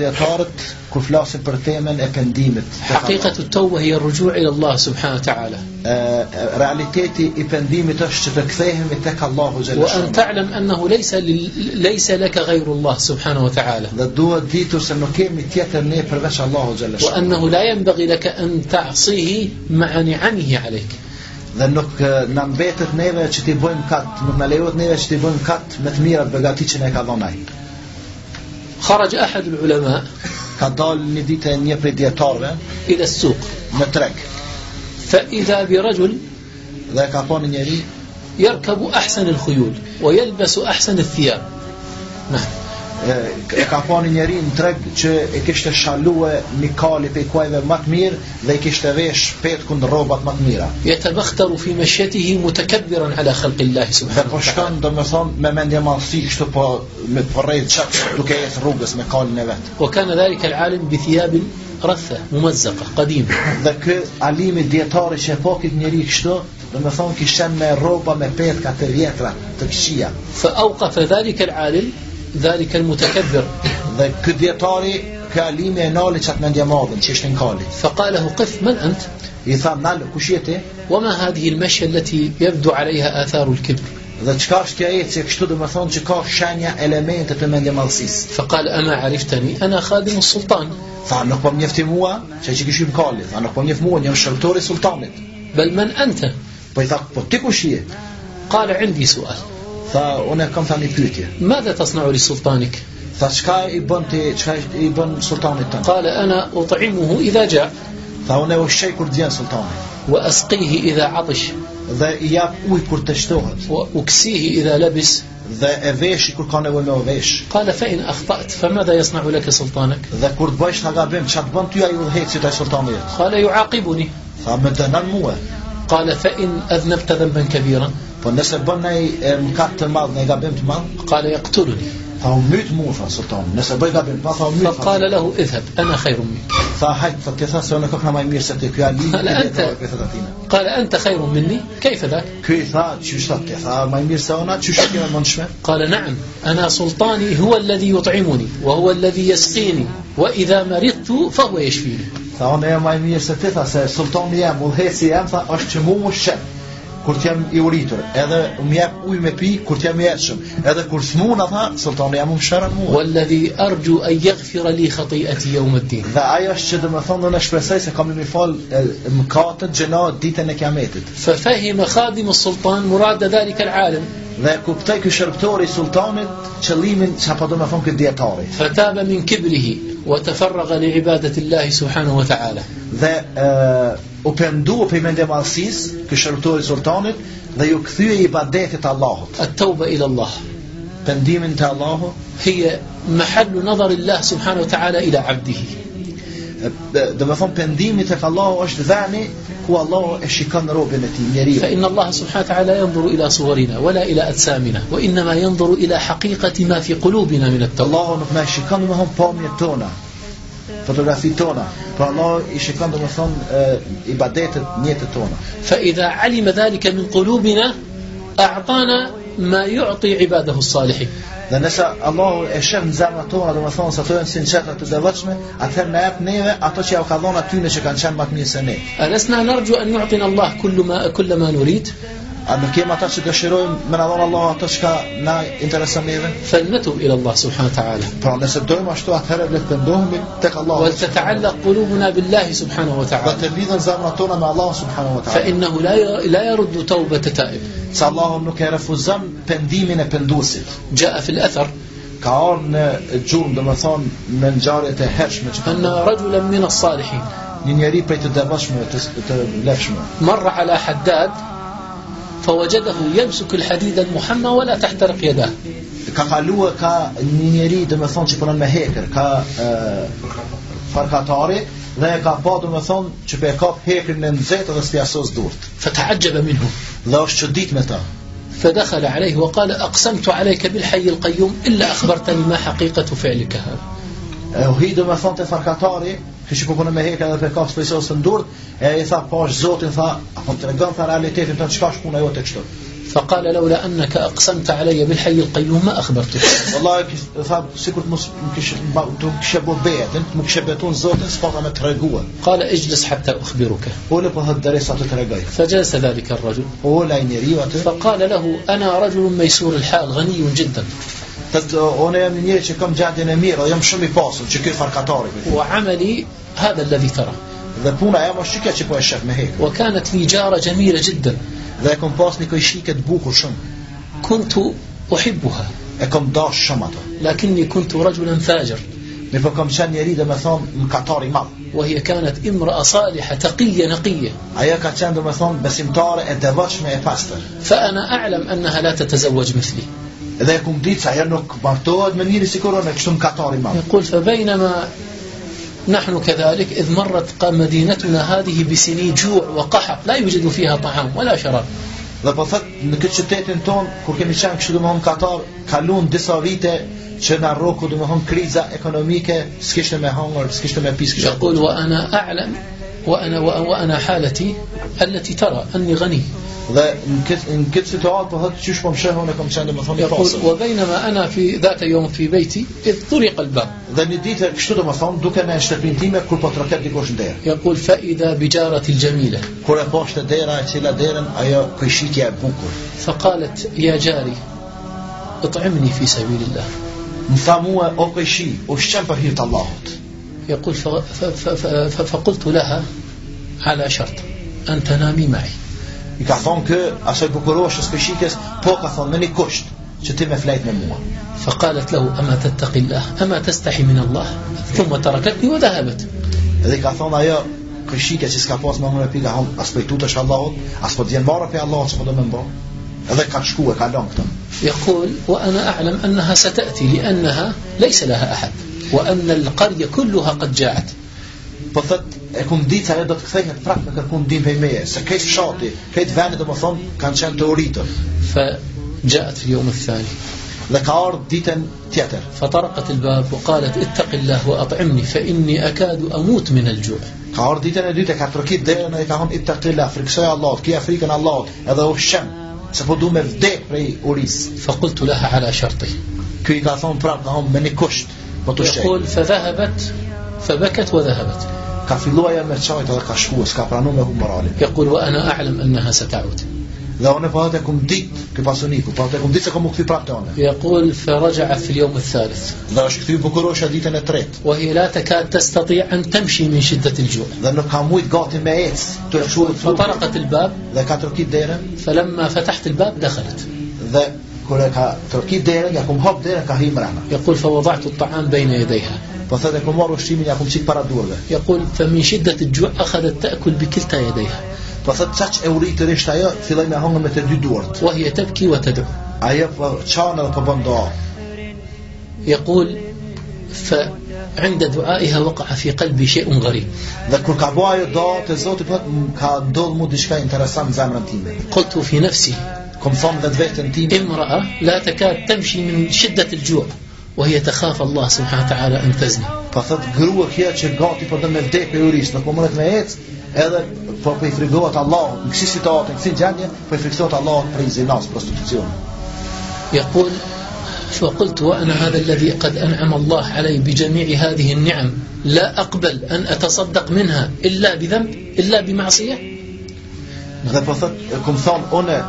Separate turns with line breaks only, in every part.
dietarët kur flasin për temën e pendimit.
حقيقة التوبة هي الرجوع إلى الله سبحانه وتعالى
Ë, realiteti i pendimit është që të kthehemi tek Allahu
وأن
xhallahu.
تعلم أنه ليس لل- ليس لك غير الله سبحانه وتعالى
Dhe duhet ditur se nuk kemi tjetër ne përveç Allahu xhallahu.
وأنه لا ينبغي لك أن تعصيه مع نعمه عليك
Dhe nuk ë, na mbetet neve që ti bëjmë kat, nuk na lejohet neve që ti bëjmë kat me të mirat begati që ne ka dhënë ai.
خرج أحد العلماء
Ka dalë një ditë një prej dietarëve
إلى السوق
në treg
فإذا برجل
dhe ka pa një njeri
يركب أحسن الخيول ويلبس أحسن الثياب نعم
e e ka pa një njeri në treg që e kishte shalue një kali pe kuajve më të mirë dhe i kishte vesh petkun rrobat më të mira.
يتبختر في مشيته متكبرا على خلق الله
Dhe
سبحانه
po
وتعالى
shkon do me thonë me mendje madhësi kështu po me përrejt qatë duke e rrugës me kalin e vetë.
وكان ذلك العالم بثياب رثة ممزقة قديمة
Dhe kë alimi djetari që e po këtë njeri kështu do me thonë kishen me roba me petka të vjetra të këqia.
فأوقف ذلك العالم ذلك المتكبر
Dhe kë djetari kë alimi e nali qatë mendje madhën që ishte në kali.
فقال له قف من أنت
I tha nalë kush jeti
وما هذه المشية التي يبدو عليها آثار الكبر
dhe çka është kjo ecje kështu do me thonë që ka shenja elemente të mendje madhësisë.
فقال أما عرفتني أنا خادم السلطان
Tha nuk po mjefti mua që që kishim kali. Tha nuk po mjeft mua jam shërtori i sultanit.
بل من أنت
Po i tha po ti kush je?
قال عندي سؤال
Tha unë e kam tani pyetje.
ماذا تصنع لسلطانك
Tha çka i bën ti, çka i bën sultanit tënd?
قال أنا أطعمه إذا جاع
Tha unë e ushqej kur të vjen sultani
وأسقيه إذا عطش
dhe i jap ujë kur të shtohet
وأكسيه إذا لبس
dhe e veshi kur ka nevojë me u vesh
قال فإن أخطأت فماذا يصنع لك سلطانك
dhe kur të bësh na gabim çka të bën ty ai udhëhecit ai sultanit
قال يعاقبني
tha më dënon mua
قال فإن أذنبت ذنبا كبيرا
po nëse bën ai mëkat të madh në gabim të madh
قال يقتلني
Tha u myt mua, tha sultan, nëse bëj gabim, pa tha u myt. Tha,
فقال له اذهب أنا خير منك
tha hajt, tha ti tha se unë e kokna më mirë se ti ky ali.
Ala, ente. قال أنت خيr مني كيف ذاك
Ky i tha, çysh tha ti tha më mirë se ona, çysh ti më mundshme.
قال نعم أنا سلطاني هو الذي يطعمني وهو الذي يسقيني وإذا مرضت فهو يشفيني
Tha unë e më mirë se ti tha se sultani jam, udhëheci jam, tha është që mua më shën. Kur të jam i uritur, edhe më jep ujë me pi, kur të jam i etshëm, edhe kur smuna tha, sultani jam më shëran mua.
والذي أرجو أن يغفر لي خطيئتي يوم الدين
Dhe ajo është që dhe më thonë dhe në shpresoj se kam i mi falë mëkatët gjënaat ditën e kiametit.
ففهم خادم السلطان مراد ذلك العالم
Dhe e kuptoj ky shërbëtori i sultanit qëllimin që apo do më thonë këtë dietari.
فتاب من كبره وتفرغ لعبادة الله سبحانه وتعالى
dhe e, u pendu për mendje malsis, kë shërtori sultanit, dhe ju këthyje i badetit Allahut.
التوبة إلى الله
Pendimin të Allahut,
هي محل نظر الله سبحانه وتعالى إلى عبده
e, dhe me thonë pendimi të Allahu është veni ku Allahu e shikon robin e ti, njeriu.
فإن الله سبحانه وتعالى ينظر إلى صورنا ولا إلى أجسامنا وإنما ينظر إلى حقيقة ما في قلوبنا من التوبة
Allahu nuk na e shikon dhe me thonë pamjet tona, fotografi tona, por Allahu i shikon dhe me thonë i badetit njetët tona.
فإذا علم ذلك من قلوبنا أعطانا ما يعطي عباده الصالحين
Dhe nëse Allahu e shef në zemrat tona, do të thonë se ato janë sinqerta të devotshme, atëherë na jep neve ato që ja u ka dhënë atyne që kanë qenë më të mirë se ne.
ألسنا نرجو أن يعطينا الله كل ما, كل ما نريد
A nuk kem ata që dëshirojmë me na dhon Allah ato që na intereson neve?
فلنتوب إلى الله سبحانه وتعالى
Pra nëse dojmë ashtu atëherë le të ndohemi tek Allahu.
ولتتعلق قلوبنا بالله سبحانه
Dhe
وتعالى
të lidhen zemrat tona me Allahun subhanahu wa taala.
فإنه لا ي- لا يرد توبة تائب
Se Allahu nuk e refuzon pendimin e penduesit.
جاء في الأثر
Ka ardhur në gjurmë, domethënë me ngjarjet e hershme që
أن رجلا من الصالحين
një njeri prej të devotshmëve të, të lefshme.
مر على حداد فوجده يمسك الحديد المحمى ولا تحترق يداه
Ka kaluar ka një njeri domethënë që punon me hekër, ka e, farkatari dhe e ka pa domethënë që pe e kap hekrin në nxehtë dhe spjasos durt.
فتعجب منه
Dhe është çudit me ta.
فدخل عليه وقال أقسمت عليك بالحي القيوم إلا أخبرتني ما حقيقة فعلك هذا
E u hidë me thonë të farkatari, që që po punë me heka dhe për ka spesosë të ndurët, e i tha, po është zotin, tha, apo më të regon, tha realitetin të qka është puna jote kështu.
فقال لولا أنك أقسمت علي بالحي القيوم ما أخبرتك
Wallahi kis- e tha sikur të mos më kishe ba- të më kishe bë betën, të më kishe betuar Zotin s'paka me treguar.
قال اجلس حتى أخبرك
Ole po thot deri sa të tregoj.
فجلس ذلك الرجل
Ole ai njeriu aty,
فقال له أنا رجل ميسور الحال غني جدا
thotë unë jam një njeri që kam gjendjen e mirë, dhe jam shumë i pasur, që ky farkatari.
وعملي هذا الذي ترى
Dhe puna jam është që kjo që po e shef me hek.
وكانت لي جارة جميلة جدا
Dhe e kam pas një koj shike të bukur shumë.
كنت أحبها
E kam dashur shumë atë.
لكني كنت رجلا فاجر
Mirë po kam qenë njeri dhe me thonë në katar i madh.
وهي كانت امرأة صالحة تقية نقية
Aja ka qenë dhe me thonë besimtare e devotshme e pastër.
فأنا أعلم أنها لا تتزوج مثلي
Dhe e kum ditë se ajo nuk martohet me njëri si korone, kështu në katar i madh.
يقول فبينما نحن كذلك إذ مرت مدينتنا هذه بسنين جوع وقحط لا يوجد فيها طعام ولا شراب
Dhe po thëtë në këtë qytetin tonë, kur kemi qenë kështu dhe me thonë katar, kalun disa vite që në roku dhe me thonë kriza ekonomike, s'kishte me hangër, s'kishte me pisë, s'kishte
يقول وأنا أعلم وأنا وأنا حالتي التي ترى أني غني
Dhe në këtë, në këtë situatë po thëtë qysh po më shëhën e kam qenë dhe me thonë i
يقول
pasër.
وبينما أنا في ذات يوم في بيتي إذ طرق الباب
Dhe një ditë kështu do më thonë duke në shtëpinë time kur po të rëket dikush në derë.
يقول فإذا بجارة الجميلة
Kur e poshtë dera e cila derën ajo këshitja e bukur.
فقالت يا جاري اطعمني في سبيل الله
Më tha mua o këshi, u shqem për hir të Allahut.
يقول ف- ف- ف- ف- فقلت لها على شرط أن تنامي معي
I ka thonë kë asaj bukuroshës këshitjes, po ka thonë me një kusht që ti me flejt me mua.
فقالت له أما تتقي الله أما تستحي من الله ثم تركتني وذهبت
Dhe i ka thonë ajo këshitja që s'ka pas më mëre pika hom, as për i tutësh Allahut, as po t'jen barë për Allahut që po do me mbo. Edhe ka shku e ka lënë këtë.
يقول وأنا أعلم أنها ستأتي لأنها ليس لها أحد وأن القرية كلها قد جاءت
Po thët, e kum ditë se ajo do të kthehet prapë me kërku ndihmë prej meje, se këtë fshati, këtë vend domethën kanë qenë të uritur.
فجاءت في اليوم الثاني
Dhe ka ardhë ditën tjetër
فطرقت الباب وقالت اتق الله وأطعمني فإني أكاد أموت من الجوع
Ka ardhë ditën e dytë e ka trokit derën e ka hon i tërtila Friksoj Allahot, kia frikën Allahot Edhe u shem Se po du me vdek prej uris
فقلت لها على شرطي
Ky i ka thonë prapë ka hon me një kusht Po të shqej
يقول فذهبت فبكت وذهبت
Ka fillu aja me qajtë edhe ka shku Ska pranu me hu moralin
يقول وأنا أعلم أنها ستعود
Dhe one po atë e kum dit Ky pasuniku Po atë e kum dit se kom u këthi prapë të one
يقول فرجع في اليوم الثالث
Dhe është këthi bukurosha ditën e tretë
وهي لا تكاد تستطيع أن تمشي من شدة الجوع
Dhe nuk ka mujt gati me ec Të
po-
shuhet flukë
فطرقت الباب
Dhe ka trokit derën
فلما فتحت الباب دخلت
Dhe kër e ka trokit derën Ja kum hop derën ka hi mrena
يقول فوضعت الطعام بين يديها
Po thëtë e kum marrë ushqimin ja kum qik para durve
يقول فمن شدة الجوع أخذت تأكل بكلتا يديها
Po thëtë qaq e uritër ishtë ajo, filloj me hangën me të dy duart.
وهي تبكي وتدعو
Ajo po qanë dhe po bën doa.
يقول فعند دعائها وقع في قلبي شيء غريب
Dhe kur ka bo ajo doa të Zotit, po thëtë, "M- ka ndodhë mu diçka interesant në zemrën time.
قلت في نفسي
Kom thonë vetë vetën time,
امرأة لا تكاد تمشي من شدة الجوع وهي تخاف الله سبحانه وتعالى أن تزني
po thëtë grua kja që gati po dhe me vdek për urisë, nuk po mëret me ecë, edhe po për i frigohet Allah, në kësi situatë, në kësi gjendje, po i friksohet Allah për i zinas, prostitucion.
يقول فقلت وأنا هذا الذي قد أنعم الله علي بجميع هذه النعم لا أقبل أن أتصدق منها إلا بذنب إلا بمعصية
Dhe po thëtë, kom thonë, une,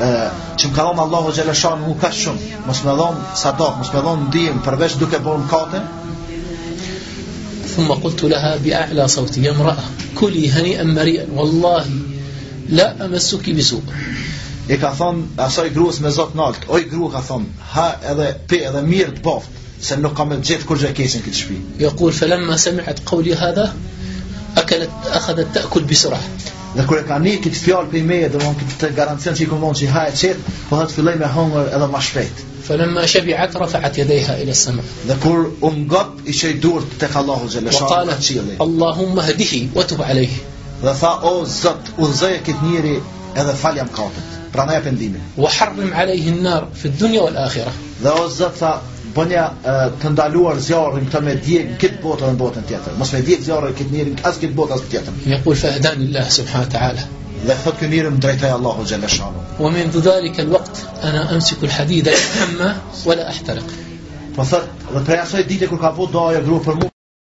e, që më ka dhonë Allahu Gjeleshan mu ka shumë, mos me dhonë sadak, mos me dhonë ndihem, përveç duke bërë katën,
ثم قلت لها بأعلى صوتي يا امرأة كلي هنيئا مريئا والله لا أمسك بسوء
i ka thonë asaj gruas me zot nalt, oj grua ka thonë, ha edhe pi edhe mirë të boft, se nuk kam e gjithë kur gjë kesin këtë shtëpi.
يقول فلما سمعت قولي هذا أكلت أخذت تأكل بسرعة
Dhe kur e ka një këtë fjalë për meje, do mund këtë garancion që i komon që i ha e qetë, po hëtë filloj me hongër edhe ma shpejt.
فلما شبعت رفعت يديها إلى السماء
Dhe kur u ngop, i që i durët të ka Allahu Gjeleshanu ka
وقالت
qili.
اللهم اهده وتب عليه
Dhe tha, o zot, u dhëzëje këtë njëri edhe fal jam katët, pra na e pendimin.
وحرم عليه النار في الدنيا والآخرة
Dhe o zot tha, bënja e, të ndaluar zjarrin këtë me djeg në këtë botë dhe në botën tjetër. Mos me djeg zjarrin këtë njëri as këtë botë as këtë tjetër.
يقول فهداني الله سبحانه وتعالى
dhe thot ky njeri më drejtoi Allahu xhaleshanu.
ومنذ ذلك الوقت أنا أمسك الحديد أتحمى ولا أحترق
Po thot, dhe prej asaj dite kur ka vënë do ajo grua për mua